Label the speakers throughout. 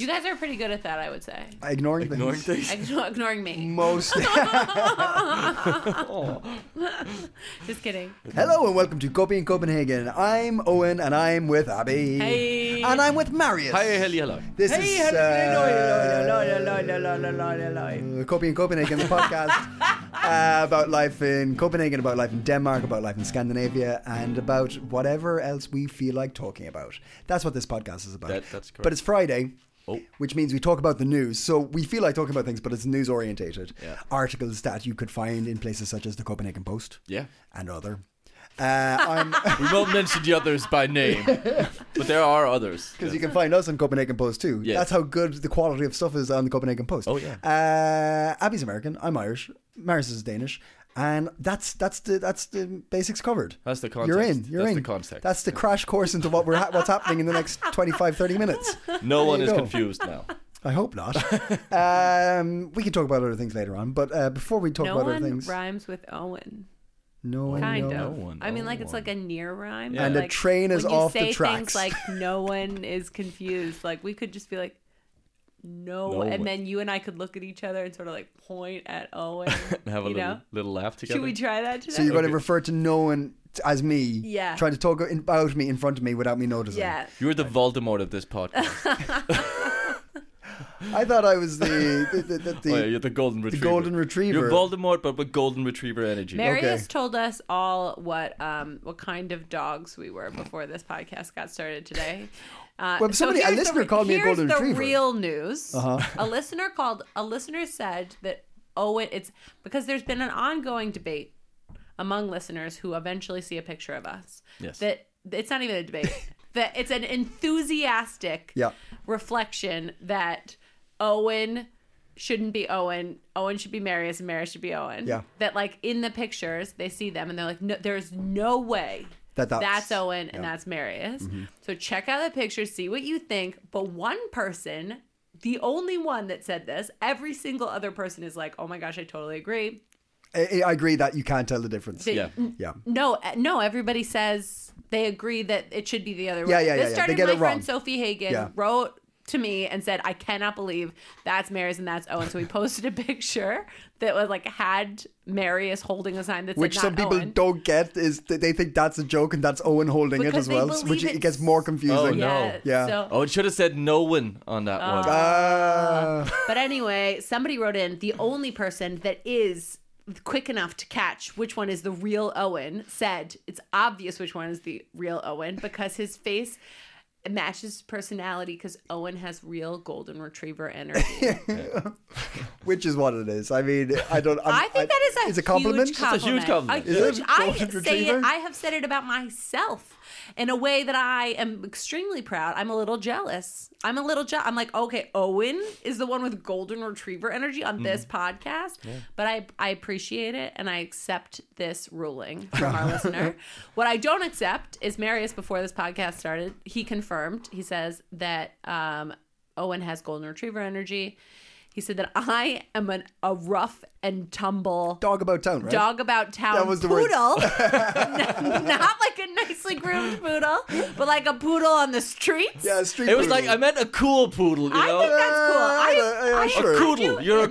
Speaker 1: You guys are pretty good at that, I would say.
Speaker 2: Ignoring,
Speaker 3: Ignoring
Speaker 2: things.
Speaker 3: things.
Speaker 1: Igno- Ignoring me.
Speaker 2: Most.
Speaker 1: Just kidding.
Speaker 2: Hello and welcome to Copy in Copenhagen. I'm Owen and I'm with Abby.
Speaker 1: Hey.
Speaker 2: And I'm with Marius.
Speaker 3: Hey, hello, hello.
Speaker 2: This
Speaker 3: hey,
Speaker 2: is
Speaker 3: hello, hello,
Speaker 2: uh,
Speaker 3: hello, hello, hello, hello, hello.
Speaker 2: uh, Copy in Copenhagen, the podcast uh, about life in Copenhagen, about life in Denmark, about life in Scandinavia, and about whatever else we feel like talking about. That's what this podcast is about.
Speaker 3: That- that's correct. Oh.
Speaker 2: But it's Friday. Which means we talk about the news. So we feel like talking about things, but it's news orientated. Articles that you could find in places such as the Copenhagen Post
Speaker 3: Yeah.
Speaker 2: and other. Uh, I'm
Speaker 3: We won't mention the others by name, but there are others.
Speaker 2: Because you can find us on Copenhagen Post too.
Speaker 3: Yes.
Speaker 2: That's how good the quality of stuff is on the Copenhagen Post.
Speaker 3: Oh, yeah.
Speaker 2: Uh, Abby's American. I'm Irish. Maris is Danish. And that's that's the that's the basics covered.
Speaker 3: That's the context.
Speaker 2: You're in. You're
Speaker 3: That's
Speaker 2: in.
Speaker 3: the context.
Speaker 2: That's the crash course into what we're ha- what's happening in the next 25, 30 minutes.
Speaker 3: No one
Speaker 2: you
Speaker 3: is
Speaker 2: go.
Speaker 3: confused now.
Speaker 2: I hope not. um, we can talk about other things later on, but uh, before we talk
Speaker 1: No
Speaker 2: about
Speaker 1: one
Speaker 2: other things,
Speaker 1: rhymes with Owen.
Speaker 2: no one.
Speaker 1: Kind
Speaker 2: no.
Speaker 1: of.
Speaker 3: No one,
Speaker 1: I mean,
Speaker 3: no
Speaker 1: like it's
Speaker 3: one.
Speaker 1: like a near rhyme.
Speaker 3: Yeah.
Speaker 1: but,
Speaker 3: And a
Speaker 1: like,
Speaker 2: train is
Speaker 1: when you
Speaker 2: off the
Speaker 1: say
Speaker 2: tracks.
Speaker 1: Things like no one is confused. Like we could just be like, no,
Speaker 3: No one.
Speaker 1: and then you and I could look at each other and sort of like point at Owen.
Speaker 3: And have a
Speaker 1: you
Speaker 3: little,
Speaker 1: know?
Speaker 3: little laugh together.
Speaker 1: Should we try that today?
Speaker 2: So you're going
Speaker 3: Okay.
Speaker 2: to refer to no one t- as me.
Speaker 1: Yeah.
Speaker 2: Trying to talk in- about me in front of me without me noticing.
Speaker 1: yeah.
Speaker 3: You're the Voldemort of this podcast.
Speaker 2: I thought I was the the, the, the,
Speaker 3: oh, yeah, you're the golden retriever.
Speaker 2: golden retriever.
Speaker 3: You're Voldemort, but with golden retriever energy.
Speaker 1: Marius
Speaker 2: Okay.
Speaker 1: told us all what um, what kind of dogs we were before this podcast got started today. Uh,
Speaker 2: Well, somebody- a
Speaker 1: here's
Speaker 2: listener
Speaker 1: re-
Speaker 2: called me a
Speaker 1: here's
Speaker 2: golden
Speaker 1: the
Speaker 2: retriever. Uh-huh.
Speaker 1: Real news. A listener called. A listener said that Owen. It's because there's been an ongoing debate among listeners who eventually see a picture of us.
Speaker 3: Yes.
Speaker 1: That it's not even a debate. that it's an enthusiastic
Speaker 2: Yeah.
Speaker 1: reflection that Owen shouldn't be Owen. Owen should be Marius, and Marius should be Owen.
Speaker 2: Yeah.
Speaker 1: That like in the pictures they see them and they're like, no, there's no way
Speaker 2: That that's- Mm-hmm.
Speaker 1: Owen and that's Marius. So check out the pictures, see what you think. But one person, the only one that said this, every single other person is like, oh my gosh, I totally agree.
Speaker 2: I, I agree that you can't tell the difference.
Speaker 1: They-
Speaker 3: Yeah.
Speaker 1: n-
Speaker 2: Yeah.
Speaker 1: No, uh, no. Everybody says they agree that it should be the other
Speaker 2: Yeah,
Speaker 1: way.
Speaker 2: yeah, yeah, yeah.
Speaker 1: This
Speaker 2: They
Speaker 1: started.
Speaker 2: get
Speaker 1: my
Speaker 2: it wrong.
Speaker 1: friend Sophie Hagen
Speaker 2: Yeah.
Speaker 1: wrote to me and said, "I cannot believe that's Marius and that's Owen." So we posted a picture that was like had Marius holding a sign that said
Speaker 2: Which
Speaker 1: not
Speaker 2: some people
Speaker 1: Owen.
Speaker 2: don't get is that they think that's a joke and that's Owen holding it
Speaker 1: Because
Speaker 2: as
Speaker 1: they
Speaker 2: well,
Speaker 1: believe
Speaker 2: which it
Speaker 1: it's-
Speaker 2: gets more
Speaker 3: Oh,
Speaker 2: confusing.
Speaker 3: no.
Speaker 1: Yeah.
Speaker 2: Yeah.
Speaker 1: So,
Speaker 3: Oh, it should have said no one on that
Speaker 1: Oh.
Speaker 3: one.
Speaker 2: Uh,
Speaker 1: But anyway, somebody wrote in the only person that is quick enough to catch which one is the real Owen said it's obvious which one is the real Owen because his face matches personality because Owen has real golden retriever energy.
Speaker 2: which is what it is. I mean, I don't. I'm,
Speaker 1: I think that is a,
Speaker 2: it's a compliment.
Speaker 1: Huge
Speaker 3: It's a huge compliment.
Speaker 1: A
Speaker 2: Is it?
Speaker 1: huge- I
Speaker 2: Golden
Speaker 1: say
Speaker 2: retriever?
Speaker 1: it. I have said it about myself in a way that I am extremely proud. I'm a little jealous. I'm a little jealous. I'm like, okay, Owen is the one with golden retriever energy on this podcast, but I I appreciate it and I accept this ruling from our listener. What I don't accept is Marius. Before this podcast started, he confirmed. He says that um, Owen has golden retriever energy. He said that I am an, a rough and tumble
Speaker 2: Dog about town, right?
Speaker 1: dog about town
Speaker 2: That was the word.
Speaker 1: poodle. Not like a nicely groomed poodle, but like a poodle on the streets.
Speaker 2: Yeah, street.
Speaker 3: It was
Speaker 2: poodle.
Speaker 3: like, I meant a cool poodle, you
Speaker 1: I
Speaker 3: know?
Speaker 1: think that's cool.
Speaker 2: Yeah, yeah,
Speaker 1: I,
Speaker 2: yeah,
Speaker 1: I,
Speaker 2: sure.
Speaker 1: I
Speaker 2: A
Speaker 3: coodle.
Speaker 1: do-
Speaker 3: You're a
Speaker 1: I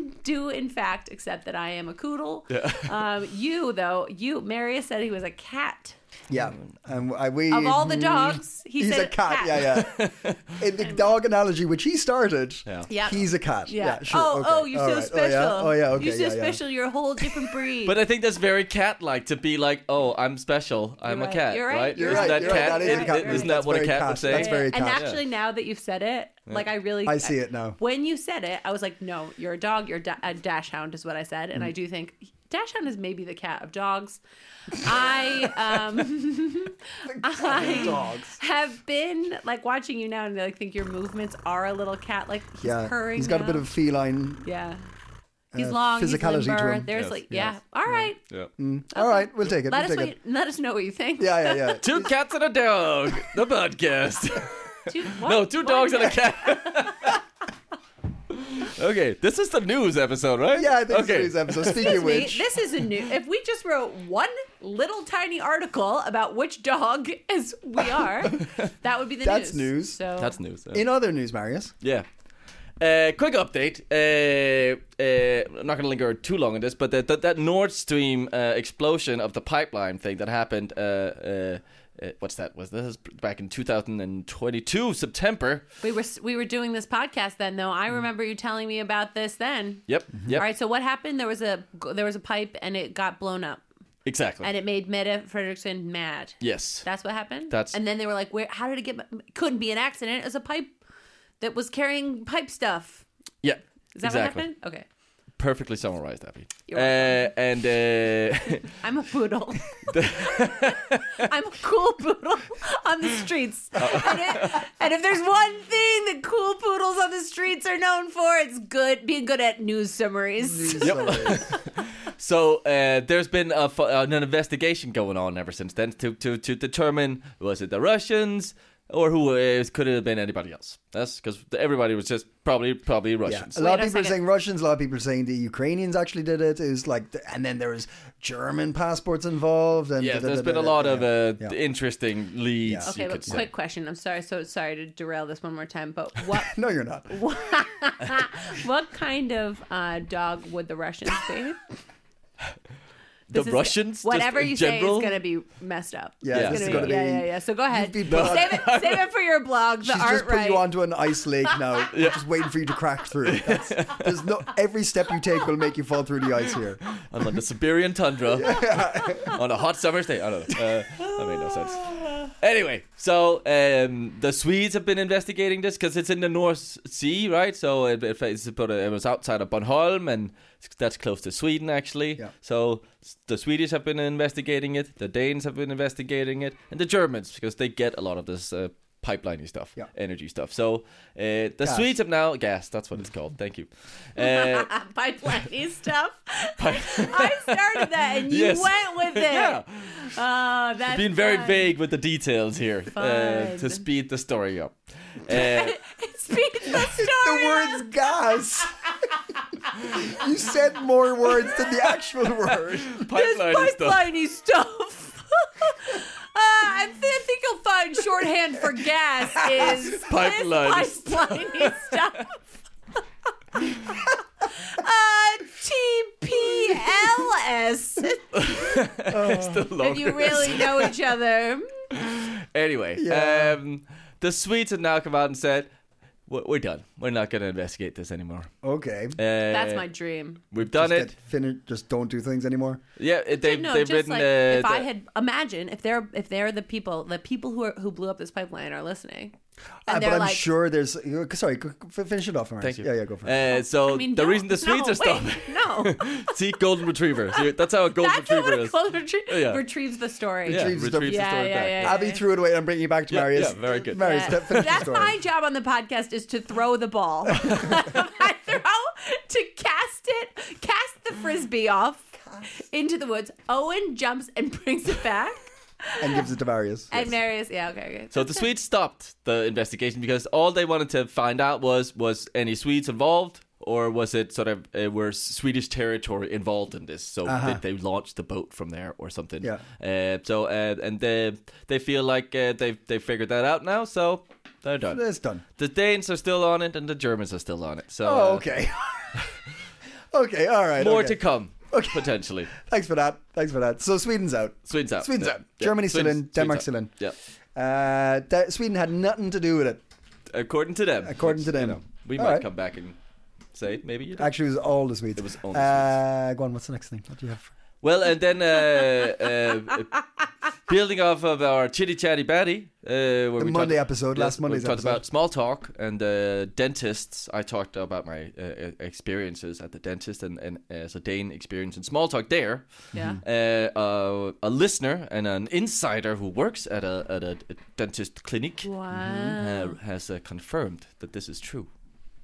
Speaker 3: coodle.
Speaker 1: do, in fact, accept that I am a coodle. um, you, though, you, Marius said he was a cat.
Speaker 2: yeah. And I, we
Speaker 1: Of all the dogs, he
Speaker 2: he's
Speaker 1: said
Speaker 2: a cat. Yeah, yeah. In the dog analogy, which he started,
Speaker 1: Yeah.
Speaker 2: he's a cat. Yeah,
Speaker 1: Yeah.
Speaker 2: sure.
Speaker 1: oh,
Speaker 2: okay,
Speaker 1: oh, you're
Speaker 2: all
Speaker 1: so
Speaker 2: right.
Speaker 1: special.
Speaker 2: Oh, yeah. Oh, yeah. Okay.
Speaker 1: You're so
Speaker 2: yeah, yeah.
Speaker 1: special. You're a whole different breed.
Speaker 3: But I think that's very cat-like to be like, "Oh, I'm special. I'm
Speaker 1: You're
Speaker 3: a
Speaker 1: right.
Speaker 3: cat."
Speaker 1: You're right. You're
Speaker 3: isn't
Speaker 1: right.
Speaker 3: that
Speaker 1: You're right.
Speaker 3: cat?
Speaker 1: That is a
Speaker 3: i-
Speaker 1: cat
Speaker 3: i- Isn't
Speaker 1: move.
Speaker 3: that
Speaker 2: That's
Speaker 3: what a
Speaker 2: very
Speaker 3: cat
Speaker 2: cat.
Speaker 3: would say?
Speaker 2: That's very
Speaker 1: and
Speaker 2: cat.
Speaker 1: actually, now that you've said it, like I really,
Speaker 2: I see it now. Mm.
Speaker 1: When you said it, I was like, "No, you're a dog. You're a da- a dash hound," is what I said, and I do think Dashhound is maybe the cat of dogs. I um, I
Speaker 2: dogs.
Speaker 1: have been like watching you now, and like think your movements are a little cat. Like he's
Speaker 2: yeah,
Speaker 1: purring.
Speaker 2: he's got a bit
Speaker 1: now.
Speaker 2: of feline
Speaker 1: Yeah. He's
Speaker 2: uh,
Speaker 1: long.
Speaker 2: physicality
Speaker 1: Physicality
Speaker 2: to
Speaker 1: he's limber.
Speaker 2: him.
Speaker 1: There's
Speaker 3: Yes,
Speaker 1: like,
Speaker 3: yes.
Speaker 1: yeah. All right.
Speaker 3: Yeah.
Speaker 2: All right, we'll take it.
Speaker 1: Let
Speaker 2: we'll
Speaker 1: us
Speaker 2: take
Speaker 1: wait, let us know what you think.
Speaker 2: It. Yeah, yeah, yeah.
Speaker 3: Two cats and a dog. The podcast.
Speaker 1: Two,
Speaker 3: no,
Speaker 1: what?
Speaker 3: two
Speaker 1: One
Speaker 3: dogs and a
Speaker 1: cat.
Speaker 3: cat. okay, this is the news episode, right?
Speaker 2: yeah, I think
Speaker 3: okay.
Speaker 2: it's episode. Speaking
Speaker 1: Excuse
Speaker 2: of
Speaker 1: me.
Speaker 2: which,
Speaker 1: This is a new. If we just wrote one little tiny article about which dog as we are, that would be the
Speaker 2: That's
Speaker 1: news.
Speaker 2: news.
Speaker 1: So
Speaker 3: That's news. yeah.
Speaker 2: in other news, Marius,
Speaker 3: Yeah. Uh, quick update. Uh, uh, I'm not going to linger too long on this, but that that, that Nord Stream uh, explosion of the pipeline thing that happened. Uh, uh, uh, what's that? Was this is back in 2022 September?
Speaker 1: we were we were doing this podcast then, though. I remember you telling me about this then.
Speaker 3: Mm. Yep.
Speaker 2: Mm-hmm.
Speaker 3: Yep.
Speaker 1: All right. So what happened? There was a there was a pipe and it got blown up,
Speaker 3: Exactly.
Speaker 1: and it made Meta Fredrickson mad.
Speaker 3: yes.
Speaker 1: That's what happened.
Speaker 3: That's-
Speaker 1: and then they were like, "Where? How did it get? Couldn't be an accident. It was a pipe that was carrying pipe stuff.
Speaker 3: yeah.
Speaker 1: Is that
Speaker 3: exactly.
Speaker 1: what happened? Okay,
Speaker 3: Perfectly summarized, Abby.
Speaker 1: You're
Speaker 3: Uh, and uh,
Speaker 1: I'm a poodle. I'm a cool poodle on the streets. And, it- and if there's one thing that cool poodles on the streets are known for, it's good being good at news summaries.
Speaker 2: Sorry.
Speaker 3: So uh, there's been a, fo- an investigation going on ever since then to, to, to determine was it the Russians or who is, could it have been anybody else? That's because everybody was just probably probably
Speaker 2: yeah,
Speaker 3: Russians.
Speaker 2: a lot
Speaker 1: Wait a
Speaker 2: of people are
Speaker 1: second.
Speaker 2: saying Russians. A lot of people are saying the Ukrainians actually did it. It was like, th- and then there was German passports involved. And
Speaker 3: Yeah,
Speaker 2: da- da-
Speaker 3: there's
Speaker 2: da-
Speaker 3: been a
Speaker 2: da-
Speaker 3: lot
Speaker 2: da-
Speaker 3: of
Speaker 2: yeah,
Speaker 3: uh,
Speaker 2: yeah.
Speaker 3: interesting leads.
Speaker 2: Yeah.
Speaker 1: Okay,
Speaker 3: you
Speaker 1: but
Speaker 3: could say.
Speaker 1: quick question. I'm sorry, so sorry to derail this one more time, but what
Speaker 2: No, you're not.
Speaker 1: what kind of uh, dog would the Russians be?
Speaker 3: The
Speaker 1: This is-
Speaker 3: Russians,
Speaker 1: whatever
Speaker 3: just
Speaker 1: you
Speaker 3: in
Speaker 1: say
Speaker 3: general?
Speaker 1: is going to be messed up.
Speaker 2: Yeah,
Speaker 1: It's
Speaker 3: this
Speaker 1: gonna
Speaker 3: is
Speaker 1: be-
Speaker 3: gonna
Speaker 1: yeah,
Speaker 2: be-
Speaker 1: yeah, yeah. So go ahead,
Speaker 2: be
Speaker 1: save
Speaker 2: put on-
Speaker 1: it, save it for your blog. The
Speaker 2: She's
Speaker 1: art
Speaker 2: just put
Speaker 1: right.
Speaker 2: you onto an ice lake now, just waiting for you to crack through. That's, there's no every step you take will make you fall through the ice here.
Speaker 3: I'm on the Siberian tundra on a hot summer's day. I don't know. Uh, that made no sense. Anyway, so um, the Swedes have been investigating this because it's in the North Sea, right? So it, it, it's about it was outside of Bornholm, and that's close to Sweden, actually.
Speaker 2: Yeah.
Speaker 3: So s- the Swedish have been investigating it, the Danes have been investigating it, and the Germans because they get a lot of this. Uh, Pipeliney stuff,
Speaker 2: Yeah.
Speaker 3: energy stuff. So uh, the
Speaker 2: Gas.
Speaker 3: Swedes have now gas. That's what it's called. Thank you. Uh,
Speaker 1: pipeline stuff. I started that and you
Speaker 3: Yes.
Speaker 1: went with it.
Speaker 3: yeah.
Speaker 1: Oh, that's
Speaker 3: being very
Speaker 1: fun.
Speaker 3: vague with the details here uh,
Speaker 1: Fun.
Speaker 3: to speed the story up. Uh,
Speaker 1: Speak the story.
Speaker 2: The words gas. you said more words than the actual word.
Speaker 1: This
Speaker 3: pipeline and stuff.
Speaker 1: pipeline stuff. Uh, I, th- I think you'll find shorthand for gas is
Speaker 3: Pipeline.
Speaker 1: pipeline stuff. uh, TPLS. if you really know each other.
Speaker 3: Anyway,
Speaker 2: Yeah.
Speaker 3: um, the Swedes have now come out and said, "We- "We're done. We're not going to investigate this anymore.
Speaker 2: Okay.
Speaker 3: Uh,
Speaker 1: That's my dream.
Speaker 3: We've done
Speaker 2: Just
Speaker 3: it.
Speaker 2: get finished. Just don't do things anymore. Uh,
Speaker 3: Yeah, it- they,
Speaker 1: no,
Speaker 3: they've
Speaker 1: just
Speaker 3: written.
Speaker 1: like
Speaker 3: uh,
Speaker 1: if
Speaker 3: the-
Speaker 1: I had imagine if they're if they're the people the people who are who blew up this pipeline are listening, and
Speaker 2: Uh,
Speaker 1: they're
Speaker 2: but I'm
Speaker 1: like,
Speaker 2: sure there's. Sorry, go- f- finish it off, Maris.
Speaker 3: Thank you.
Speaker 2: Yeah, yeah, go for it.
Speaker 3: Uh, so
Speaker 1: I mean,
Speaker 3: the
Speaker 1: no,
Speaker 3: reason the Swedes
Speaker 1: no,
Speaker 3: are stopping,
Speaker 1: wait, no,
Speaker 3: see, golden retriever. See, that's how a golden
Speaker 1: that's not
Speaker 3: retriever
Speaker 1: what a
Speaker 3: is.
Speaker 1: cold retrie-
Speaker 3: Oh, Yeah.
Speaker 1: retrieves the story.
Speaker 3: yeah,
Speaker 2: Retrieves
Speaker 3: retrieves
Speaker 2: the-
Speaker 3: the story
Speaker 1: Yeah, yeah,
Speaker 3: back.
Speaker 1: yeah,
Speaker 2: Abby threw it away. I'm bringing it back to
Speaker 3: Yeah,
Speaker 2: Marius.
Speaker 3: yeah, very good.
Speaker 2: Marius,
Speaker 1: Yeah.
Speaker 2: th- finish the
Speaker 1: That's
Speaker 2: story.
Speaker 1: my job on the podcast is to throw the ball. I throw to cast it, cast the frisbee off into the woods. Owen jumps and brings it back,
Speaker 2: And gives it to Marius.
Speaker 1: and Marius. Yeah, okay, okay.
Speaker 3: So the Swedes stopped the investigation because all they wanted to find out was was any Swedes involved or was it sort of uh, were Swedish territory involved in this? So did they launch the boat from there or something?
Speaker 2: Uh-huh. Yeah.
Speaker 3: Uh, so uh, and they they feel like uh, they they figured that out now. So they're done.
Speaker 2: It's done.
Speaker 3: The Danes are still on it and the Germans are still on it. So
Speaker 2: Oh,
Speaker 3: uh,
Speaker 2: okay. okay, all right.
Speaker 3: more
Speaker 2: okay.
Speaker 3: to come potentially.
Speaker 2: Thanks for that. Thanks for that. So Sweden's out.
Speaker 3: Swedes out.
Speaker 2: Sweden's
Speaker 3: Yeah.
Speaker 2: out.
Speaker 3: Yeah.
Speaker 2: Germany's still
Speaker 3: Sweden's-
Speaker 2: in. Denmark's still
Speaker 3: Sweden's
Speaker 2: in. Uh,
Speaker 3: out.
Speaker 2: Da- Sweden had nothing to do with it.
Speaker 3: Yeah, according to them.
Speaker 2: According to
Speaker 3: Which, you
Speaker 2: them.
Speaker 3: know, we
Speaker 2: All
Speaker 3: might
Speaker 2: right.
Speaker 3: come back and say maybe you did.
Speaker 2: Actually, it was all the Swedes. It
Speaker 3: was all the
Speaker 2: uh, Go on. What's the next thing? What do you have?
Speaker 3: Well, and then uh, uh, building off of our chitty chatty batty, uh, where
Speaker 2: Monday
Speaker 3: we talked-
Speaker 2: episode, last Monday's
Speaker 3: we talked
Speaker 2: episode.
Speaker 3: about small talk and uh, dentists. I talked about my uh, experiences at the dentist and, and as a Dane experience in small talk there.
Speaker 1: Yeah.
Speaker 3: Uh, uh, a listener and an insider who works at a at a dentist clinic
Speaker 1: Wow.
Speaker 3: uh, has uh, confirmed that this is true.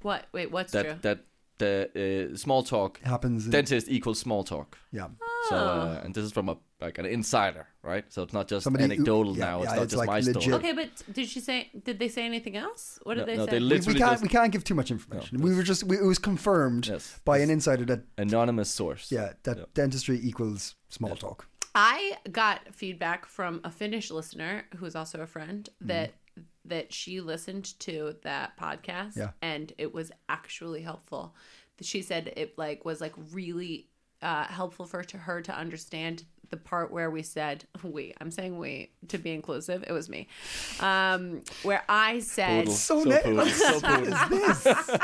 Speaker 1: What? Wait, what's
Speaker 3: That
Speaker 1: true?
Speaker 3: that the uh, small talk
Speaker 2: happens. in-
Speaker 3: dentist equals small talk.
Speaker 2: yeah.
Speaker 3: So, uh, and this is from a like an insider, right? So it's not just
Speaker 2: Somebody who-
Speaker 3: anecdotal
Speaker 2: yeah,
Speaker 3: now.
Speaker 2: yeah,
Speaker 3: it's not
Speaker 2: it's
Speaker 3: just
Speaker 2: like
Speaker 3: my
Speaker 2: legit.
Speaker 3: story.
Speaker 1: okay, but did she say? Did they say anything else? What did
Speaker 3: No,
Speaker 1: they
Speaker 3: no,
Speaker 1: say?
Speaker 3: they
Speaker 2: We, we
Speaker 3: literally
Speaker 2: can't
Speaker 3: just-
Speaker 2: we can't give too much information. we were just we, it was confirmed
Speaker 3: Yes.
Speaker 2: by an insider that
Speaker 3: Anonymous source.
Speaker 2: yeah that dentistry equals small talk.
Speaker 1: I got feedback from a Finnish listener who is also a friend that that she listened to that podcast
Speaker 2: Yeah.
Speaker 1: and it was actually helpful. She said it like was like really uh, helpful for to her to understand the part where we said we. I'm saying we to be inclusive. It was me, um, where I said
Speaker 3: Poodle.
Speaker 2: So,
Speaker 3: So
Speaker 2: ne-
Speaker 3: poodle, so poodle.
Speaker 2: What is this?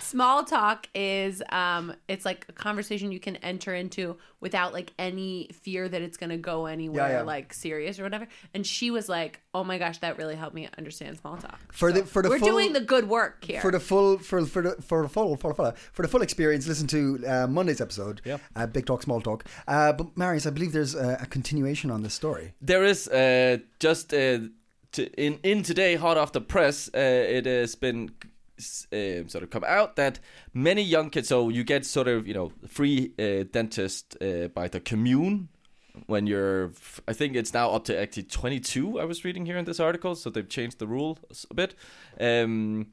Speaker 1: small talk is um it's like a conversation you can enter into without like any fear that it's going to go anywhere
Speaker 2: Yeah, yeah.
Speaker 1: like serious or whatever and she was like oh my gosh that really helped me understand small talk
Speaker 2: For the for the
Speaker 1: we're
Speaker 2: full,
Speaker 1: doing the good work here
Speaker 2: for the full for for the for the full for the full, for the full experience. Listen to uh, Monday's episode. Yeah. Uh, Big talk, small talk. Uh, but Marius, I believe there's a, a continuation on this story.
Speaker 3: There is uh, just uh, to, in in today, hot off the press, uh, it has been um, sort of come out that many young kids. So you get sort of you know free uh, dentist uh, by the commune when you're. I think it's now up to actually 22. I was reading here in this article, so they've changed the rule a bit. Um,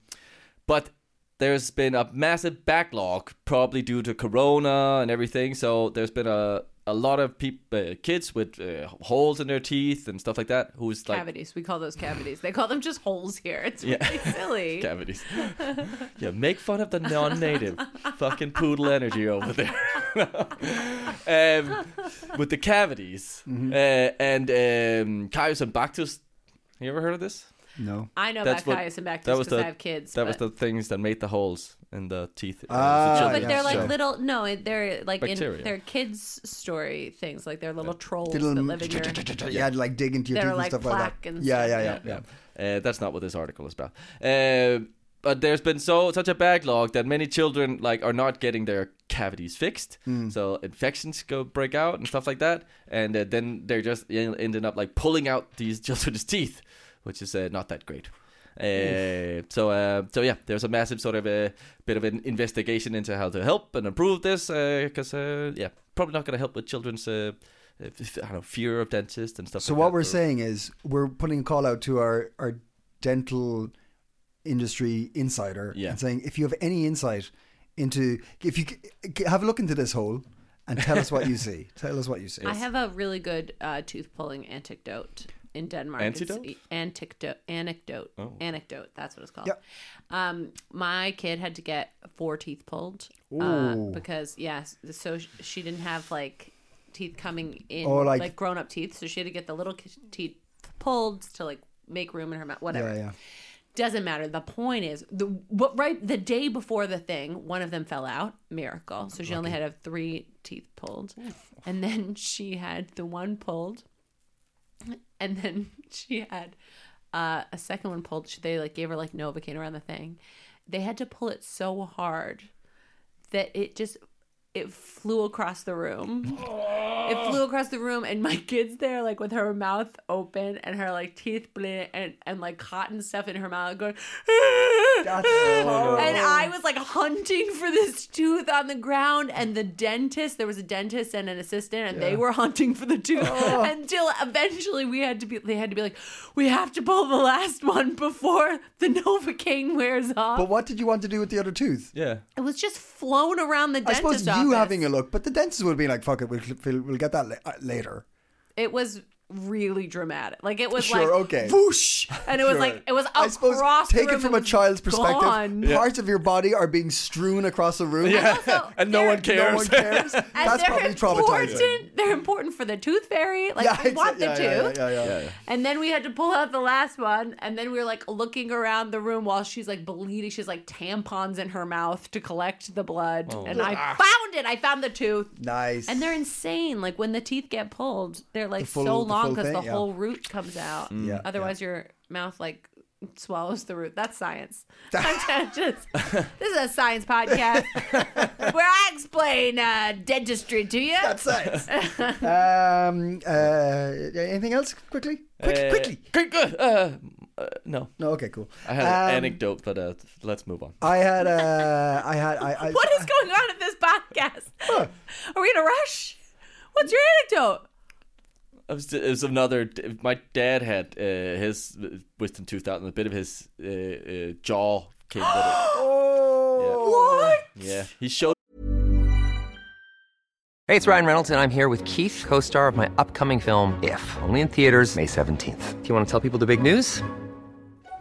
Speaker 3: but there's been a massive backlog, probably due to Corona and everything. So there's been a a lot of peop- uh, kids with uh, holes in their teeth and stuff like that, who's like
Speaker 1: cavities we call those cavities they call them just holes here it's really silly
Speaker 3: cavities. yeah, make fun of the non-native fucking poodle energy over there. um, with the cavities
Speaker 2: Mm-hmm.
Speaker 3: uh, and um, Caius and Bactus. You ever heard of this?
Speaker 2: No.
Speaker 1: i know
Speaker 3: That's
Speaker 1: about
Speaker 3: what-
Speaker 1: caius and
Speaker 3: that
Speaker 1: Bactus
Speaker 3: was
Speaker 1: because
Speaker 3: the-
Speaker 1: i have kids
Speaker 3: That was
Speaker 1: but-
Speaker 3: the things that made the holes in the teeth. uh, the
Speaker 2: Ah,
Speaker 3: children.
Speaker 1: but
Speaker 2: Yeah,
Speaker 1: they're like
Speaker 2: sure.
Speaker 1: little no it- they're like
Speaker 3: Bacteria.
Speaker 1: in their kids story things like they're little trolls
Speaker 2: Little-
Speaker 1: that live in your
Speaker 2: yeah, like dig into your
Speaker 1: They're
Speaker 2: teeth
Speaker 1: like
Speaker 2: and stuff like
Speaker 1: plaque
Speaker 2: that.
Speaker 1: and
Speaker 2: yeah,
Speaker 1: stuff,
Speaker 2: yeah, yeah,
Speaker 1: yeah.
Speaker 2: yeah.
Speaker 3: Uh, that's not what this article is about. Uh, but there's been so such a backlog that many children like are not getting their cavities fixed,
Speaker 2: Hmm.
Speaker 3: so infections go break out and stuff like that, and uh, then they're just en- ending up like pulling out these children's teeth, which is uh, not that great. Uh, so uh, so yeah, there's a massive sort of a bit of an investigation into how to help and improve this because uh, yeah, probably not going to help with children's uh, I don't know, fear of dentists and stuff.
Speaker 2: So
Speaker 3: like
Speaker 2: what
Speaker 3: that,
Speaker 2: we're
Speaker 3: or-
Speaker 2: saying is we're putting a call out to our our dental industry insider
Speaker 3: Yeah.
Speaker 2: and saying if you have any insight into if you c- c- have a look into this hole and tell us what you see. Tell us what you see.
Speaker 1: I have a really good uh, tooth pulling anecdote in Denmark.
Speaker 3: Antidote?
Speaker 1: It's anecdote. Anecdote. Anecdote. That's what it's called.
Speaker 2: Yep.
Speaker 1: Um, my kid had to get four teeth pulled uh, because yes, so sh- she didn't have like teeth coming in
Speaker 2: Oh, like-
Speaker 1: like, grown up teeth, so she had to get the little ki- teeth pulled to like make room in her mouth. Whatever.
Speaker 2: Yeah, yeah.
Speaker 1: Doesn't matter. The point is, the what right the day before the thing, one of them fell out. Miracle. So she only had to have three teeth pulled, and then she had the one pulled, and then she had uh, a second one pulled. She, they like gave her like Novocaine around the thing. They had to pull it so hard that it just it flew across the room.
Speaker 2: Oh.
Speaker 1: It flew across the room, and my kid's there, like with her mouth open and her like teeth bleh, and and like cotton stuff in her mouth, going.
Speaker 2: That's horrible.
Speaker 1: And I was like hunting for this tooth on the ground, and the dentist. There was a dentist and an assistant, and they were hunting for the tooth
Speaker 2: Oh.
Speaker 1: until eventually we had to be. They had to be like, we have to pull the last one before the novocaine wears off.
Speaker 2: But what did you want to do with the other tooth?
Speaker 3: Yeah.
Speaker 1: it was just flown around the
Speaker 2: I
Speaker 1: dentist
Speaker 2: suppose you
Speaker 1: office.
Speaker 2: having a look, but the dentist would be like, "Fuck it, we'll we'll, we'll get that la- uh, later."
Speaker 1: It was really dramatic. Like it was
Speaker 2: Sure,
Speaker 1: like
Speaker 2: okay.
Speaker 1: whoosh, and it was
Speaker 2: Sure.
Speaker 1: like it was
Speaker 2: I
Speaker 1: across
Speaker 2: suppose
Speaker 1: the
Speaker 2: take
Speaker 1: room,
Speaker 2: it from a
Speaker 1: was
Speaker 2: child's perspective.
Speaker 1: gone.
Speaker 2: Parts of your body are being strewn across the room.
Speaker 3: Yeah.
Speaker 1: Also,
Speaker 3: and no
Speaker 1: there-
Speaker 3: one cares.
Speaker 2: No one cares.
Speaker 1: And
Speaker 2: That's
Speaker 1: they're
Speaker 2: probably
Speaker 1: important.
Speaker 2: traumatizing.
Speaker 1: They're important for the tooth fairy. Like we
Speaker 2: exa-
Speaker 1: want the
Speaker 2: yeah,
Speaker 1: tooth.
Speaker 2: yeah, yeah, yeah, yeah.
Speaker 1: And then we had to pull out the last one, and then we were like looking around the room while she's like bleeding. She's like tampons in her mouth to collect the blood,
Speaker 3: Oh.
Speaker 1: and I
Speaker 2: Ah.
Speaker 1: found it. I found the tooth.
Speaker 2: Nice.
Speaker 1: And they're insane. Like when the teeth get pulled, they're like
Speaker 2: full-
Speaker 1: so
Speaker 2: the
Speaker 1: long
Speaker 2: full
Speaker 1: because the,
Speaker 2: thing, yeah. Mm.
Speaker 1: whole root comes out.
Speaker 2: yeah,
Speaker 1: Otherwise, your mouth like swallows the root. That's science. I'm just- this is a science podcast where I explain uh, dentistry to you.
Speaker 2: That's it. um, uh, anything else quickly? Quick,
Speaker 3: Uh,
Speaker 2: quickly.
Speaker 3: Quick, good. Uh, uh, no.
Speaker 2: No, okay, cool.
Speaker 3: I had an
Speaker 2: Um,
Speaker 3: anecdote, but uh, let's move on.
Speaker 2: I had. Uh, I had. I. I
Speaker 1: what is going on in this podcast? Are we in a rush? What's your anecdote?
Speaker 3: It was, it was another. My dad had uh, his wisdom tooth out, and a bit of his uh, uh, jaw came with it.
Speaker 2: Oh.
Speaker 3: Yeah, he showed
Speaker 4: Hey, it's Ryan Reynolds, and I'm here with Keith, co star of my upcoming film, If, only in theaters, May 17th. Do you want to tell people the big news?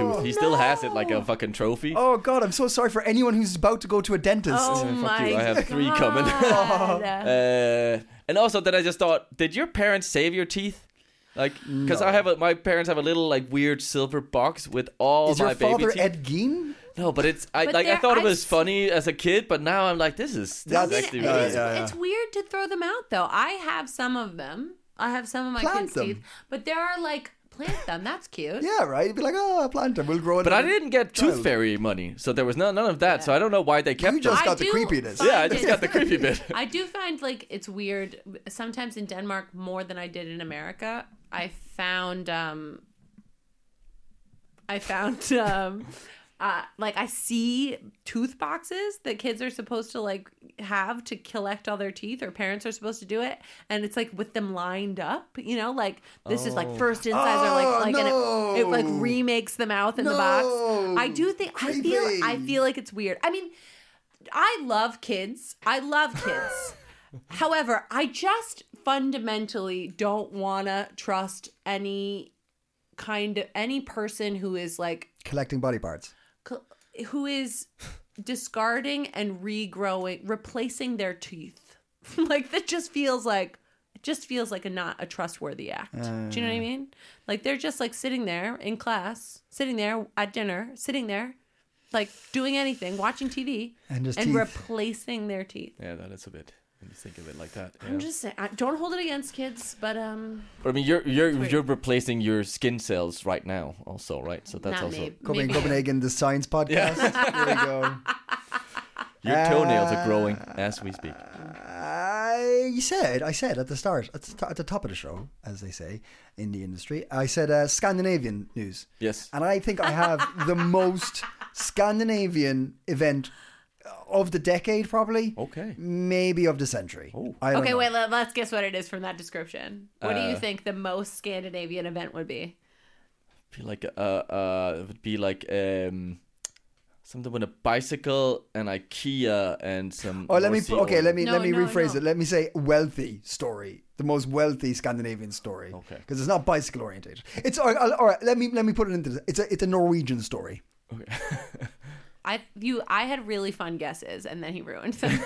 Speaker 3: tooth. He still has it like a fucking trophy.
Speaker 2: Oh God, I'm so sorry for anyone who's about to go to a dentist.
Speaker 1: Oh my
Speaker 3: you, I have three coming.
Speaker 1: God.
Speaker 3: Uh, and also, then I just thought, did your parents save your teeth? Like, because I have a, my parents have a little like weird silver box with all
Speaker 2: is
Speaker 3: my
Speaker 2: your
Speaker 3: baby
Speaker 2: father
Speaker 3: teeth.
Speaker 2: Ed Gein?
Speaker 3: no, but it's I
Speaker 1: But
Speaker 3: like I
Speaker 1: they're-
Speaker 3: thought it
Speaker 1: I
Speaker 3: was
Speaker 1: s-
Speaker 3: funny as a kid, but now I'm like, this is this is
Speaker 2: That's-
Speaker 3: actually
Speaker 2: Yeah,
Speaker 3: really
Speaker 1: It is-
Speaker 2: yeah, yeah.
Speaker 1: It's weird to throw them out though. I have some of them. I have some of my
Speaker 2: Plant
Speaker 1: kids'
Speaker 2: them.
Speaker 1: teeth, but there are like plant them. That's cute.
Speaker 2: Yeah, right. You'd be like, oh, I plant him. We'll grow it.
Speaker 3: But I didn't get tooth
Speaker 2: Child.
Speaker 3: fairy money, so there was no, none of that. So I don't know why they kept.
Speaker 2: You just
Speaker 3: them.
Speaker 2: got the
Speaker 1: do
Speaker 2: creepiness.
Speaker 1: find
Speaker 3: yeah, I just
Speaker 1: it-
Speaker 3: got the creepy bit.
Speaker 1: I do find like it's weird sometimes in Denmark more than I did in America. I found um I found um uh like I see tooth boxes that kids are supposed to like have to collect all their teeth or parents are supposed to do it and it's like with them lined up, you know, like this is like first incisor
Speaker 2: Oh,
Speaker 1: like like and it, it like
Speaker 2: no.
Speaker 1: remakes the mouth in the box.
Speaker 2: No.
Speaker 1: I do think I feel I
Speaker 2: Creepy.
Speaker 1: feel like it's weird. I mean I love kids. I love kids. However, I just fundamentally don't want to trust any kind of any person who is like
Speaker 2: Collecting body parts.
Speaker 1: cl- who is discarding and regrowing, replacing their teeth. like that just feels like it just feels like a not a trustworthy act. Do you know what I mean? Like they're just like sitting there in class, sitting there at dinner, sitting there like doing anything, watching TV
Speaker 2: And just
Speaker 1: and
Speaker 2: teeth.
Speaker 1: replacing their teeth.
Speaker 3: Yeah, that is a bit. When you think of it like that.
Speaker 1: I'm
Speaker 3: yeah.
Speaker 1: just saying, I- don't hold it against kids, but um,
Speaker 3: But I mean, you're you're you're replacing your skin cells right now, also, right? So that's
Speaker 1: not
Speaker 3: also
Speaker 1: maybe.
Speaker 2: Coming
Speaker 1: maybe-
Speaker 2: Copenhagen, the science podcast. There we go.
Speaker 3: your toenails are growing
Speaker 2: Ah.
Speaker 3: as we speak.
Speaker 2: I said, I said at the start, at the, to- at the top of the show, as they say in the industry, I said uh, Scandinavian news.
Speaker 3: Yes.
Speaker 2: And I think I have the most Scandinavian event of the decade, probably.
Speaker 3: Okay.
Speaker 2: Maybe of the century. Oh. I don't
Speaker 1: Okay,
Speaker 2: know.
Speaker 1: wait. Let, let's guess what it is from that description. What do you think the most Scandinavian event would be?
Speaker 3: Be like uh uh, it would be like um something with a bicycle and IKEA and some.
Speaker 2: Oh, let me
Speaker 3: Aussie
Speaker 2: okay.
Speaker 3: oil.
Speaker 2: Let me
Speaker 1: No,
Speaker 2: let me
Speaker 1: no,
Speaker 2: rephrase
Speaker 1: no.
Speaker 2: it. Let me say wealthy story, the most wealthy Scandinavian story. Okay, because it's not bicycle oriented. It's all right, all all right. Let me let me put it into this. It's a it's a Norwegian story.
Speaker 1: I you I had really fun guesses, and then he ruined them.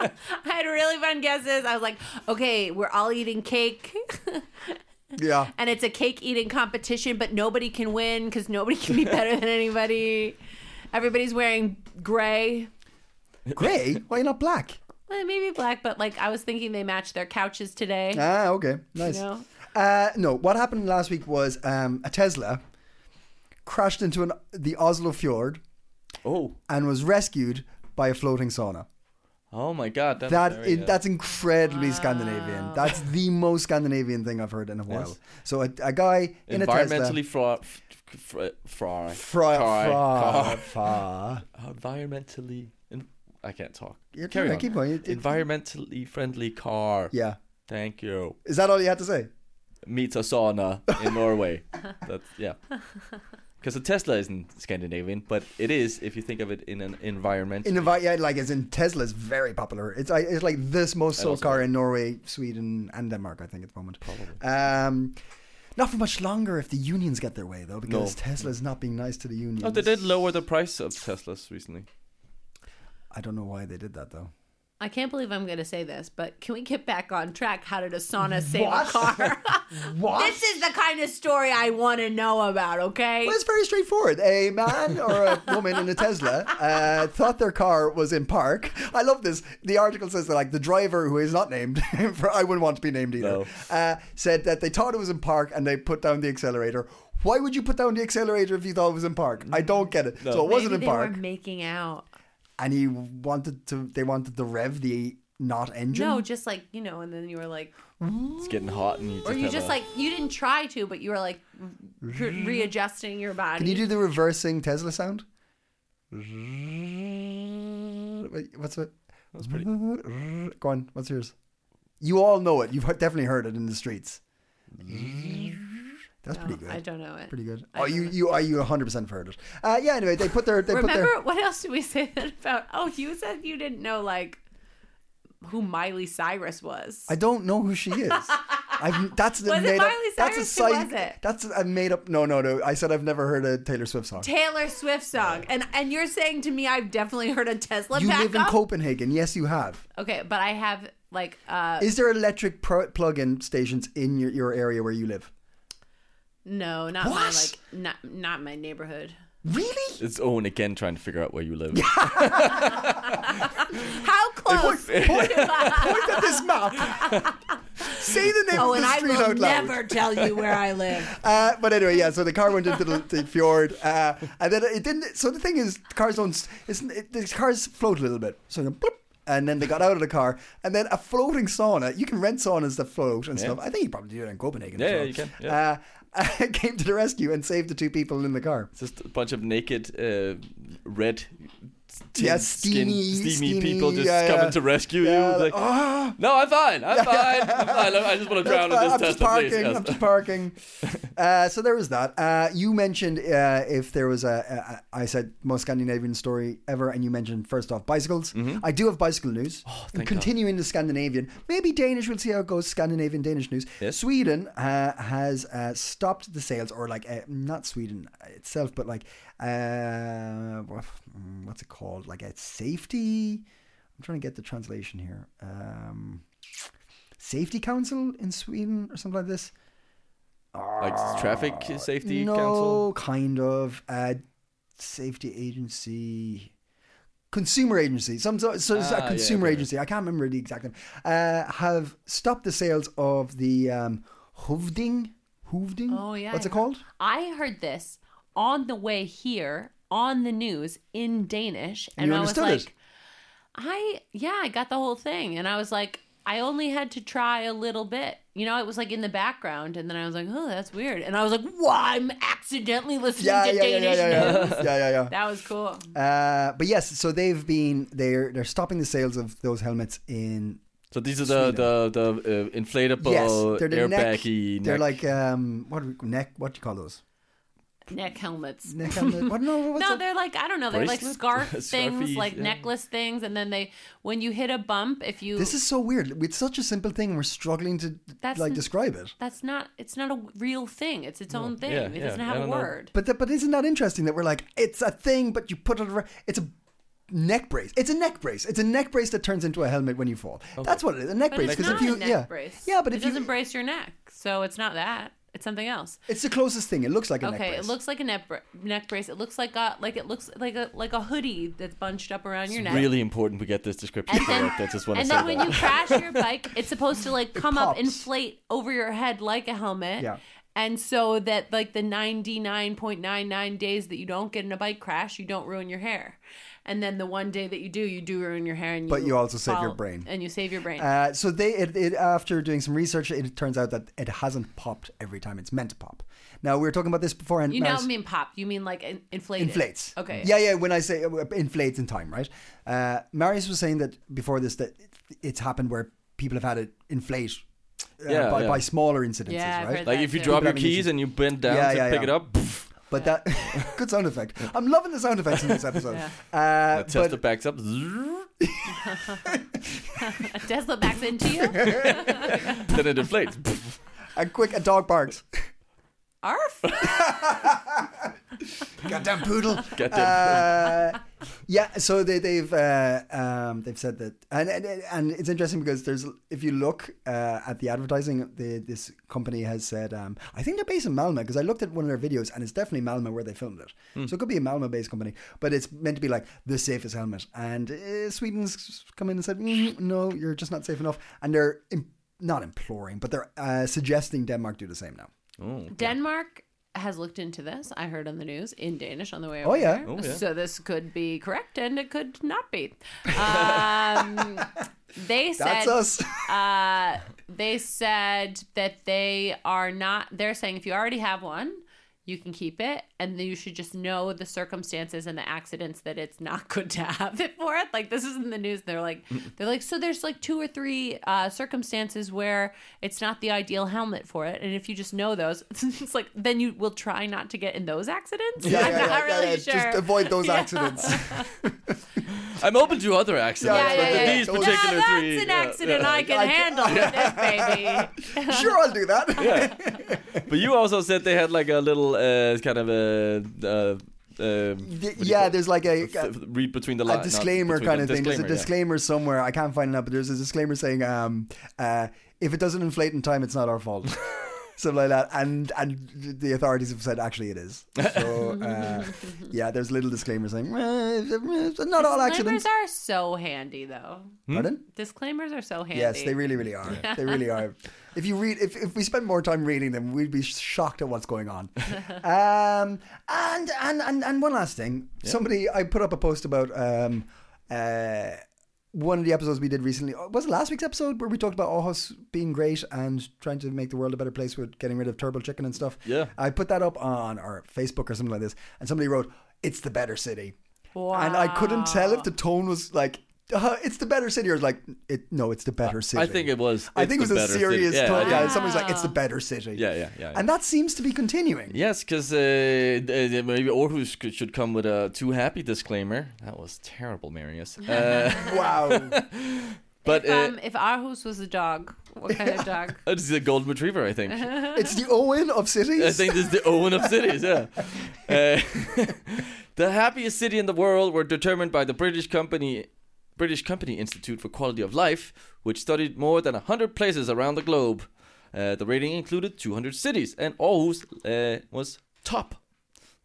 Speaker 1: I had really fun guesses. I was like, okay, we're all eating cake,
Speaker 2: Yeah,
Speaker 1: and it's a cake eating competition, but nobody can win because nobody can be better than anybody. Everybody's wearing gray.
Speaker 2: grey. Why not black?
Speaker 1: Well, maybe black, but like I was thinking they match their couches today.
Speaker 2: Ah, okay, nice.
Speaker 1: know?
Speaker 2: Uh, no, what happened last week was um, a Tesla crashed into an the Oslo fjord
Speaker 3: Oh,
Speaker 2: and was rescued by a floating sauna.
Speaker 3: Oh my god, that's
Speaker 2: That
Speaker 3: very
Speaker 2: is,
Speaker 3: good.
Speaker 2: that's incredibly Scandinavian. That's the most Scandinavian thing I've heard in a while. So a, a guy in a Tesla.
Speaker 3: environmentally fraud. Fry, fry,
Speaker 2: Fra- fra-
Speaker 3: car-
Speaker 2: fra-
Speaker 3: environmentally. en- I can't talk.
Speaker 2: You're
Speaker 3: Carry
Speaker 2: fine,
Speaker 3: on.
Speaker 2: keep going. It- it-
Speaker 3: environmentally friendly car.
Speaker 2: Yeah.
Speaker 3: Thank you.
Speaker 2: Is that all you had to say?
Speaker 3: Meets a sauna in Norway. That's yeah. Because a Tesla isn't Scandinavian, but it is if you think of it in an environment.
Speaker 2: In the, yeah, like as in Tesla is very popular. It's I- it's like this most sold
Speaker 3: also-
Speaker 2: car in Norway, Sweden, and Denmark. I think at the moment. Probably. Um, not for much longer if the unions get their way though, because
Speaker 3: No.
Speaker 2: Tesla is not being nice to the unions.
Speaker 3: oh, they did lower the price of Teslas recently.
Speaker 2: I don't know why they did that though.
Speaker 1: I can't believe I'm going to say this, but can we get back on track? How did a sauna save a car?
Speaker 2: What?
Speaker 1: this is the kind of story I want to know about, okay?
Speaker 2: Well, it's very straightforward. A man or a woman in a Tesla uh, thought their car was in park. I love this. The article says that like the driver who is not named, for I wouldn't want to be named either, uh, said that they thought it was in park and they put down the accelerator. Why would you put down the accelerator if you thought it was in park? I don't get it. So it wasn't
Speaker 1: Maybe
Speaker 2: in
Speaker 1: they
Speaker 2: park,
Speaker 1: were making out.
Speaker 2: and he wanted to. They wanted to rev the not engine.
Speaker 1: No, just like, you know, and then you were like,
Speaker 3: It's getting hot, and you just
Speaker 1: or you
Speaker 3: have
Speaker 1: just
Speaker 3: a-
Speaker 1: like, you didn't try to, but you were like re- readjusting your body.
Speaker 2: Mm-hmm. Can you do the reversing Tesla sound? Wait, What's it? That's pretty. Go on. What's yours? You all know it. You've he- definitely heard it in the streets. That's pretty good.
Speaker 1: Oh, I don't know it.
Speaker 2: Pretty good.
Speaker 1: I
Speaker 2: Oh,
Speaker 1: don't
Speaker 2: you
Speaker 1: know.
Speaker 2: you are you 100 percent heard it. Uh, yeah. Anyway, they put their they put
Speaker 1: Remember
Speaker 2: their.
Speaker 1: what else did we say that about? Oh, you said you didn't know like who Miley Cyrus was.
Speaker 2: I don't know who she is. I've, that's the
Speaker 1: Was it
Speaker 2: made up.
Speaker 1: Miley
Speaker 2: That's a
Speaker 1: Cyrus who
Speaker 2: site.
Speaker 1: was it?
Speaker 2: That's a made up. No, no, no. I said I've never heard a Taylor Swift song.
Speaker 1: Taylor Swift song, and and you're saying to me I've definitely heard a Tesla
Speaker 2: you
Speaker 1: back
Speaker 2: live in
Speaker 1: up?
Speaker 2: Copenhagen. Yes, you have.
Speaker 1: okay, but I have like uh
Speaker 2: Is there electric pro- plug-in stations in your, your area where you live?
Speaker 1: no, not my
Speaker 2: What?
Speaker 1: like not not my neighborhood.
Speaker 2: Really?
Speaker 3: It's Owen again trying to figure out where you live.
Speaker 1: How close?
Speaker 2: Point at this map. Say the name
Speaker 1: oh,
Speaker 2: of
Speaker 1: and
Speaker 2: the
Speaker 1: I
Speaker 2: street
Speaker 1: will
Speaker 2: out loud.
Speaker 1: never tell you where I live.
Speaker 2: Uh, but anyway, yeah. So the car went into the, the fjord, uh, and then it didn't. So the thing is, cars don't. s- It's, it, the cars float a little bit. So they bloop, and then they got out of the car, and then a floating sauna. You can rent saunas that float and stuff. I think you probably do it in Copenhagen. as
Speaker 3: Yeah, yeah,
Speaker 2: well.
Speaker 3: you can, yeah.
Speaker 2: Uh, came to the rescue and saved the two people in the car.
Speaker 3: just a bunch of naked, uh, red, tin
Speaker 2: Yeah,
Speaker 3: skin-
Speaker 2: steamy-
Speaker 3: steamy,
Speaker 2: steamy,
Speaker 3: people just
Speaker 2: yeah,
Speaker 3: coming
Speaker 2: yeah.
Speaker 3: to rescue
Speaker 2: Yeah,
Speaker 3: you. It's
Speaker 2: like, "Ah!"
Speaker 3: Like, no, I'm fine. I'm fine. I'm fine. I just want to drown in
Speaker 2: That's
Speaker 3: this
Speaker 2: fine.
Speaker 3: Tesla,
Speaker 2: I'm
Speaker 3: please.
Speaker 2: just parking. I'm
Speaker 3: Yes.
Speaker 2: just parking. Uh, so there was that. Uh, you mentioned uh, if there was a, a, a, I said most Scandinavian story ever, and you mentioned first off bicycles. I do have bicycle news. and continuing the Scandinavian, maybe Danish. We'll see how it goes. Scandinavian Danish news. Sweden uh, has uh, stopped the sales, or like uh, not Sweden itself, but like uh, what- mm, what's it called? Like a safety. I'm trying to get the translation here. Um, safety council in Sweden or something like this.
Speaker 3: Like traffic safety
Speaker 2: no,
Speaker 3: council.
Speaker 2: kind of uh, safety agency, consumer agency, some sort so it's
Speaker 3: Ah,
Speaker 2: a
Speaker 3: yeah,
Speaker 2: consumer
Speaker 3: okay.
Speaker 2: agency. I can't remember the exact name. Uh, have stopped the sales of the um, hoovding. Hoovding?
Speaker 1: Oh yeah.
Speaker 2: What's
Speaker 1: I
Speaker 2: it
Speaker 1: heard-
Speaker 2: called?
Speaker 1: I heard this on the way here on the news in Danish,
Speaker 2: And you understood
Speaker 1: I
Speaker 2: it?
Speaker 1: was like, I yeah, I got the whole thing, and I was like, I only had to try a little bit. You know, it was like in the background, and then I was like, oh, that's weird, and I was like, why I'm accidentally listening
Speaker 2: Yeah,
Speaker 1: to
Speaker 2: yeah, yeah, yeah,
Speaker 1: Danish
Speaker 2: yeah,
Speaker 1: news.
Speaker 2: yeah, yeah, yeah, yeah.
Speaker 1: That was cool.
Speaker 2: Uh, but yes, so they've been they're they're stopping the sales of those helmets in
Speaker 3: So these are the the, the uh, inflatable
Speaker 2: yes they're the neck,
Speaker 3: airbaggy.
Speaker 2: they're
Speaker 3: neck-
Speaker 2: like um what do we- neck what do you call those
Speaker 1: Neck helmets.
Speaker 2: neck helmet what no what's
Speaker 1: No,
Speaker 2: that?
Speaker 1: they're like I don't know. They're like
Speaker 3: Bracelet?
Speaker 1: scarf
Speaker 3: Scarfies,
Speaker 1: things, like
Speaker 3: yeah.
Speaker 1: necklace things, and then they when you hit a bump, if you
Speaker 2: This is so weird. It's such a simple thing. We're struggling to
Speaker 1: That's
Speaker 2: like
Speaker 1: n-
Speaker 2: describe it.
Speaker 1: That's not. It's not a real thing. It's its own thing.
Speaker 3: Yeah,
Speaker 1: it
Speaker 3: yeah,
Speaker 1: doesn't
Speaker 3: I
Speaker 1: have a
Speaker 3: don't know.
Speaker 1: word.
Speaker 2: But that, but isn't that interesting that we're like it's a thing, but you put it around. It's a neck brace. It's a neck brace. It's a neck brace that turns into a helmet when you fall. That's what it is. A neck
Speaker 1: But
Speaker 2: brace.
Speaker 1: it's not
Speaker 2: if you
Speaker 1: a neck
Speaker 2: yeah
Speaker 1: brace.
Speaker 2: yeah, but
Speaker 1: it
Speaker 2: if
Speaker 1: doesn't
Speaker 2: you,
Speaker 1: brace your neck, so it's not that. It's something else.
Speaker 2: it's the closest thing. It looks like a neck
Speaker 1: Okay,
Speaker 2: brace.
Speaker 1: it looks like a neck, bra- neck brace. It looks like a like it looks like a like a hoodie that's bunched up around your neck.
Speaker 3: really important. We get this description correct. I just want to
Speaker 1: and
Speaker 3: say
Speaker 1: then when
Speaker 3: that.
Speaker 1: you crash your bike, it's supposed to like come up,
Speaker 2: pops.
Speaker 1: inflate over your head like a helmet.
Speaker 2: Yeah.
Speaker 1: And so that like the ninety nine point nine nine days that you don't get in a bike crash, you don't ruin your hair. and then the one day that you do, you do ruin your hair, and you
Speaker 2: But you also save your
Speaker 1: fall-
Speaker 2: brain.
Speaker 1: and you save your brain.
Speaker 2: Uh, so they it, it after doing some research, it turns out that it hasn't popped every time it's meant to pop. Now we were talking about this before, and
Speaker 1: you
Speaker 2: now
Speaker 1: don't
Speaker 2: it's-
Speaker 1: mean pop, you mean like in- inflated.
Speaker 2: inflates.
Speaker 1: Okay.
Speaker 2: Yeah, yeah. When I say uh, inflates in time, right? Uh, Marius was saying that before this that it- it's happened where people have had it inflate uh,
Speaker 3: Yeah,
Speaker 2: by,
Speaker 3: yeah.
Speaker 2: by smaller incidences,
Speaker 1: Yeah, I've
Speaker 2: right?
Speaker 1: heard
Speaker 3: Like
Speaker 1: That
Speaker 3: if you
Speaker 1: too.
Speaker 3: drop
Speaker 2: People having
Speaker 3: your
Speaker 2: issues.
Speaker 3: keys and you bend down
Speaker 2: Yeah,
Speaker 3: to
Speaker 2: yeah,
Speaker 3: pick
Speaker 2: yeah.
Speaker 3: it up, pff,
Speaker 2: But that good sound effect. I'm loving the sound effects in this episode. Uh,
Speaker 3: the
Speaker 2: but
Speaker 3: tester backs up. zzzz,
Speaker 1: A Tesla backs into you.
Speaker 3: Then it inflates. Pff.
Speaker 2: a quick, a dog barks.
Speaker 1: Arf.
Speaker 2: Goddamn poodle.
Speaker 3: Get them.
Speaker 2: Uh, yeah, so they, they've uh, um, they've said that, and, and and it's interesting because there's if you look uh, at the advertising, the, this company has said um, I think they're based in Malmo because I looked at one of their videos and it's definitely Malmo where they filmed it, so it could be a Malmo-based company, but it's meant to be like the safest helmet, and uh, Sweden's come in and said "Mm, no, you're just not safe enough, and they're im- not imploring, but they're uh, suggesting Denmark do the same now.
Speaker 1: Denmark has looked into this. I heard on the news in Danish on the way
Speaker 2: Oh,
Speaker 1: over.
Speaker 2: yeah.
Speaker 1: there. So this could be correct and it could not be. Um, they said
Speaker 2: That's us.
Speaker 1: Uh, they said that they are not. They're saying if you already have one. You can keep it, and then you should just know the circumstances and the accidents that it's not good to have it for it. Like this is in the news. They're like, they're like, so there's like two or three uh, circumstances where it's not the ideal helmet for it, and if you just know those, it's like then you will try not to get in those accidents. I'm not really sure.
Speaker 2: Just avoid those
Speaker 1: Yeah.
Speaker 2: accidents.
Speaker 3: I'm open to other accidents,
Speaker 2: Yeah,
Speaker 3: but
Speaker 2: yeah, yeah,
Speaker 3: these
Speaker 2: yeah.
Speaker 3: particular
Speaker 1: now
Speaker 3: three.
Speaker 1: that's an
Speaker 3: yeah,
Speaker 1: accident
Speaker 3: yeah.
Speaker 1: I can
Speaker 2: I
Speaker 1: handle with this baby.
Speaker 2: sure, I'll do that.
Speaker 3: But you also said they had like a little uh, kind of a. Uh, um,
Speaker 2: Y-
Speaker 3: what do you
Speaker 2: yeah,
Speaker 3: call it?
Speaker 2: there's like a,
Speaker 3: F- read between the
Speaker 2: a
Speaker 3: lines.
Speaker 2: disclaimer kind of thing. There's a
Speaker 3: yeah.
Speaker 2: disclaimer somewhere. I can't find it now, but there's a disclaimer saying, um, uh, if it doesn't inflate in time, it's not our fault. Something like that, and and the authorities have said actually it is. So uh, yeah, there's a little disclaimer saying "Eh, eh, not all accidents.
Speaker 1: Disclaimers are so handy, though.
Speaker 3: Hmm?
Speaker 2: Pardon?
Speaker 1: Disclaimers are so handy.
Speaker 2: Yes, they really, really are. They really are. If you read, if, if we spent more time reading them, we'd be shocked at what's going on. um, and, and and and one last thing, somebody I put up a post about um, uh, one of the episodes we did recently. Oh, Was it last week's episode where we talked about Ojos being great and trying to make the world a better place with getting rid of turbo chicken and stuff?
Speaker 3: Yeah.
Speaker 2: I put that up on our Facebook or something like this, and somebody wrote, "It's the better city," and I couldn't tell if the tone was like. Uh, it's the better city, or like it? No, it's the better city.
Speaker 3: I think it was.
Speaker 2: I think it
Speaker 3: It's
Speaker 2: was
Speaker 3: the
Speaker 2: a
Speaker 3: better city.
Speaker 2: serious
Speaker 3: Yeah,
Speaker 2: tone.
Speaker 3: I
Speaker 2: Yeah,
Speaker 3: think-
Speaker 2: somebody's like, "It's the better city."
Speaker 3: Yeah, yeah, yeah, yeah.
Speaker 2: And that seems to be continuing.
Speaker 3: Yes, because uh, th- th- maybe Aarhus could, should come with a too happy disclaimer. That was terrible, Marius. Uh,
Speaker 2: Wow.
Speaker 3: but
Speaker 1: if,
Speaker 3: uh,
Speaker 1: um, if Aarhus was a dog, what kind of dog?
Speaker 3: it's a golden retriever, I
Speaker 1: uh-huh.
Speaker 3: think.
Speaker 2: it's the Owen of cities.
Speaker 3: I think this is the Owen of cities. Yeah. Uh, the happiest city in the world were determined by the British company, British Company Institute for Quality of Life, which studied more than hundred places around the globe. Uh, the rating included 200 cities, and Aarhus uh, was top.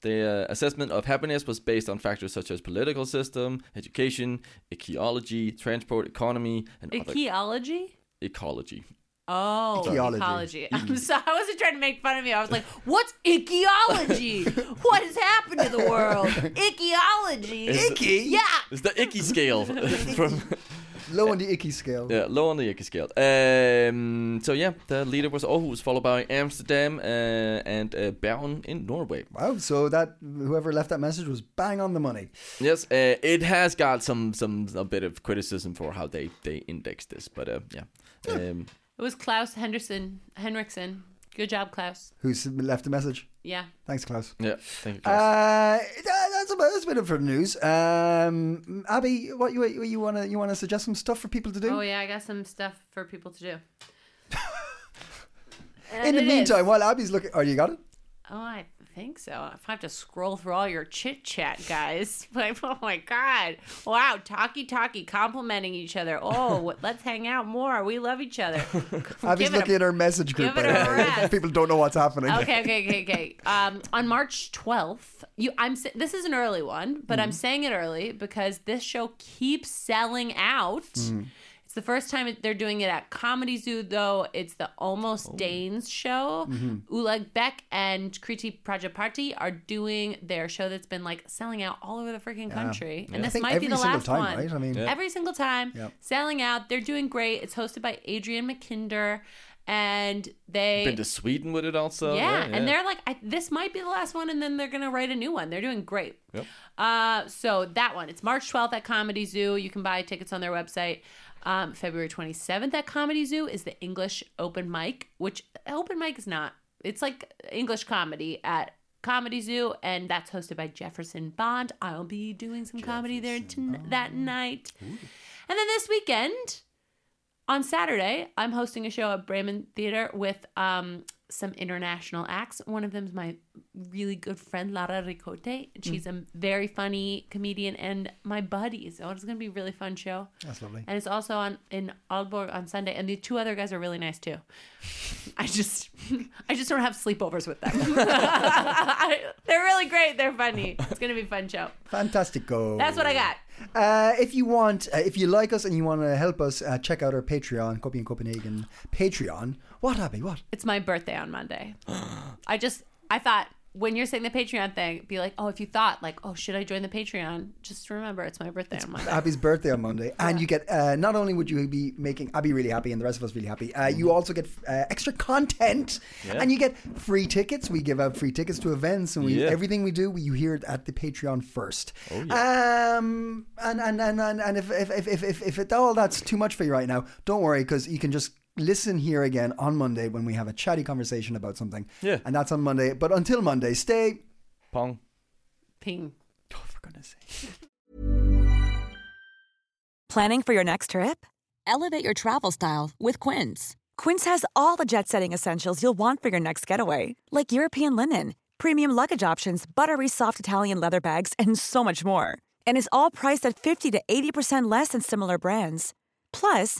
Speaker 3: The uh, assessment of happiness was based on factors such as political system, education, ecology, transport, economy, and other
Speaker 1: Icheology?
Speaker 3: ecology.
Speaker 1: Oh,
Speaker 2: Icheology.
Speaker 1: ecology. I'm sorry. I wasn't trying to make fun of you. I was like, what's icheology? what has happened to the world? Icheology.
Speaker 2: icky.
Speaker 1: Yeah.
Speaker 3: It's the icky scale from
Speaker 2: Low on the icky scale.
Speaker 3: Yeah, low on the Yicky scale. Um, so yeah, the leader was Aarhus, followed by Amsterdam uh, and uh, Bergen in Norway.
Speaker 2: Wow. So that whoever left that message was bang on the money.
Speaker 3: Yes, uh, it has got some some a bit of criticism for how they they indexed this, but uh, yeah. Um,
Speaker 1: It was Klaus Henderson, Henriksen. Good job, Klaus.
Speaker 2: Who s- left the message?
Speaker 1: Yeah.
Speaker 2: Thanks, Klaus.
Speaker 3: yeah, thank you. Klaus.
Speaker 2: Uh, that- that's about that's a bit of the news. Um, Abby, what you what you want to you want to suggest some stuff for people to do?
Speaker 1: Oh, yeah. I got some stuff for people to do. And
Speaker 2: In the
Speaker 1: it is.
Speaker 2: meantime, while Abby's looking, oh, you got it.
Speaker 1: Oh, I think so. If I have to scroll through all your chit chat, guys. Like, oh my god! Wow, talkie talkie, complimenting each other. Oh, what- let's hang out more. We love each other.
Speaker 2: Abby's
Speaker 1: Give it a-
Speaker 2: looking at her message group.
Speaker 1: give it
Speaker 2: by
Speaker 1: a
Speaker 2: the way.
Speaker 1: rest.
Speaker 2: People don't know what's happening.
Speaker 1: okay, okay, okay, okay. Um, on March twelfth, you, I'm. sa- This is an early
Speaker 2: Mm. Mm.
Speaker 1: one, but I'm saying it early because this show keeps selling out. It's It's the first time it- they're doing it at Comedy Zoo, though. It's the Almost
Speaker 2: Oh.
Speaker 1: Danes show.
Speaker 2: Mm-hmm.
Speaker 1: Oleg Beck and Kriti Prajaparty are doing their show that's been like selling out all over the freaking country. And
Speaker 2: I
Speaker 1: this
Speaker 2: think
Speaker 1: might be
Speaker 2: every
Speaker 1: the
Speaker 2: single
Speaker 1: last
Speaker 2: time,
Speaker 1: one.
Speaker 2: right? I mean,
Speaker 1: every single time,
Speaker 2: Yep.
Speaker 1: selling out. They're doing great. It's hosted by Adrian McKinder. And they
Speaker 3: Been to Sweden with it also.
Speaker 1: yeah,
Speaker 3: right?
Speaker 1: and they're like, I, this might be the last one, and then they're gonna write a new one. They're doing great.
Speaker 3: Yep.
Speaker 1: Uh, so that one, it's March 12th at Comedy Zoo. You can buy tickets on their website. Um, February 27th at Comedy Zoo is the English open mic, which open mic is not. It's like English comedy at Comedy Zoo, and that's hosted by Jefferson Bond. I'll be doing some comedy there ton- that night. And then this weekend, on Saturday, I'm hosting a show at Bremen Theater with um, some international acts. One of them is my really good friend, Lara Ricote.
Speaker 2: Mm.
Speaker 1: She's a very funny comedian and my buddy. So it's going to be a really fun show.
Speaker 2: that's lovely.
Speaker 1: And it's also on in Aalborg on Sunday. And the two other guys are really nice too. I just I just don't have sleepovers with them. They're really great. They're funny. It's going to be a fun show.
Speaker 2: Fantastico.
Speaker 1: That's what I got.
Speaker 2: Uh, if you want, uh, if you like us and you want to help us, uh, check out our Patreon, Copy in Copenhagen Patreon. What, Abby? What?
Speaker 1: It's my birthday on Monday. I just I thought when you're saying the Patreon thing, be like, oh, if you thought like, oh, should I join the Patreon? Just remember it's my birthday on Monday.
Speaker 2: Abby's birthday on Monday, and you get uh, not only would you be making Abby really happy and the rest of us really happy, uh,
Speaker 3: Mm-hmm.
Speaker 2: you also get uh, extra content, and you get free tickets. We give out free tickets to events, and we
Speaker 3: Yeah. Oh,
Speaker 2: everything we do, we, you hear it at the Patreon first. Um, and and and and, and if, if if if if if it, all that's too much for you right now, don't worry because you can just. Listen here again on Monday when we have a chatty conversation about something.
Speaker 3: Yeah.
Speaker 2: And that's on Monday. But until Monday, stay.
Speaker 3: Pong.
Speaker 1: Ping.
Speaker 2: Oh, for goodness sake.
Speaker 5: Planning for your next trip? Elevate your travel style with Quince. Quince has all the jet setting essentials you'll want for your next getaway, like European linen, premium luggage options, buttery soft Italian leather bags, and so much more. And is all priced at 50 to 80% less than similar brands. Plus,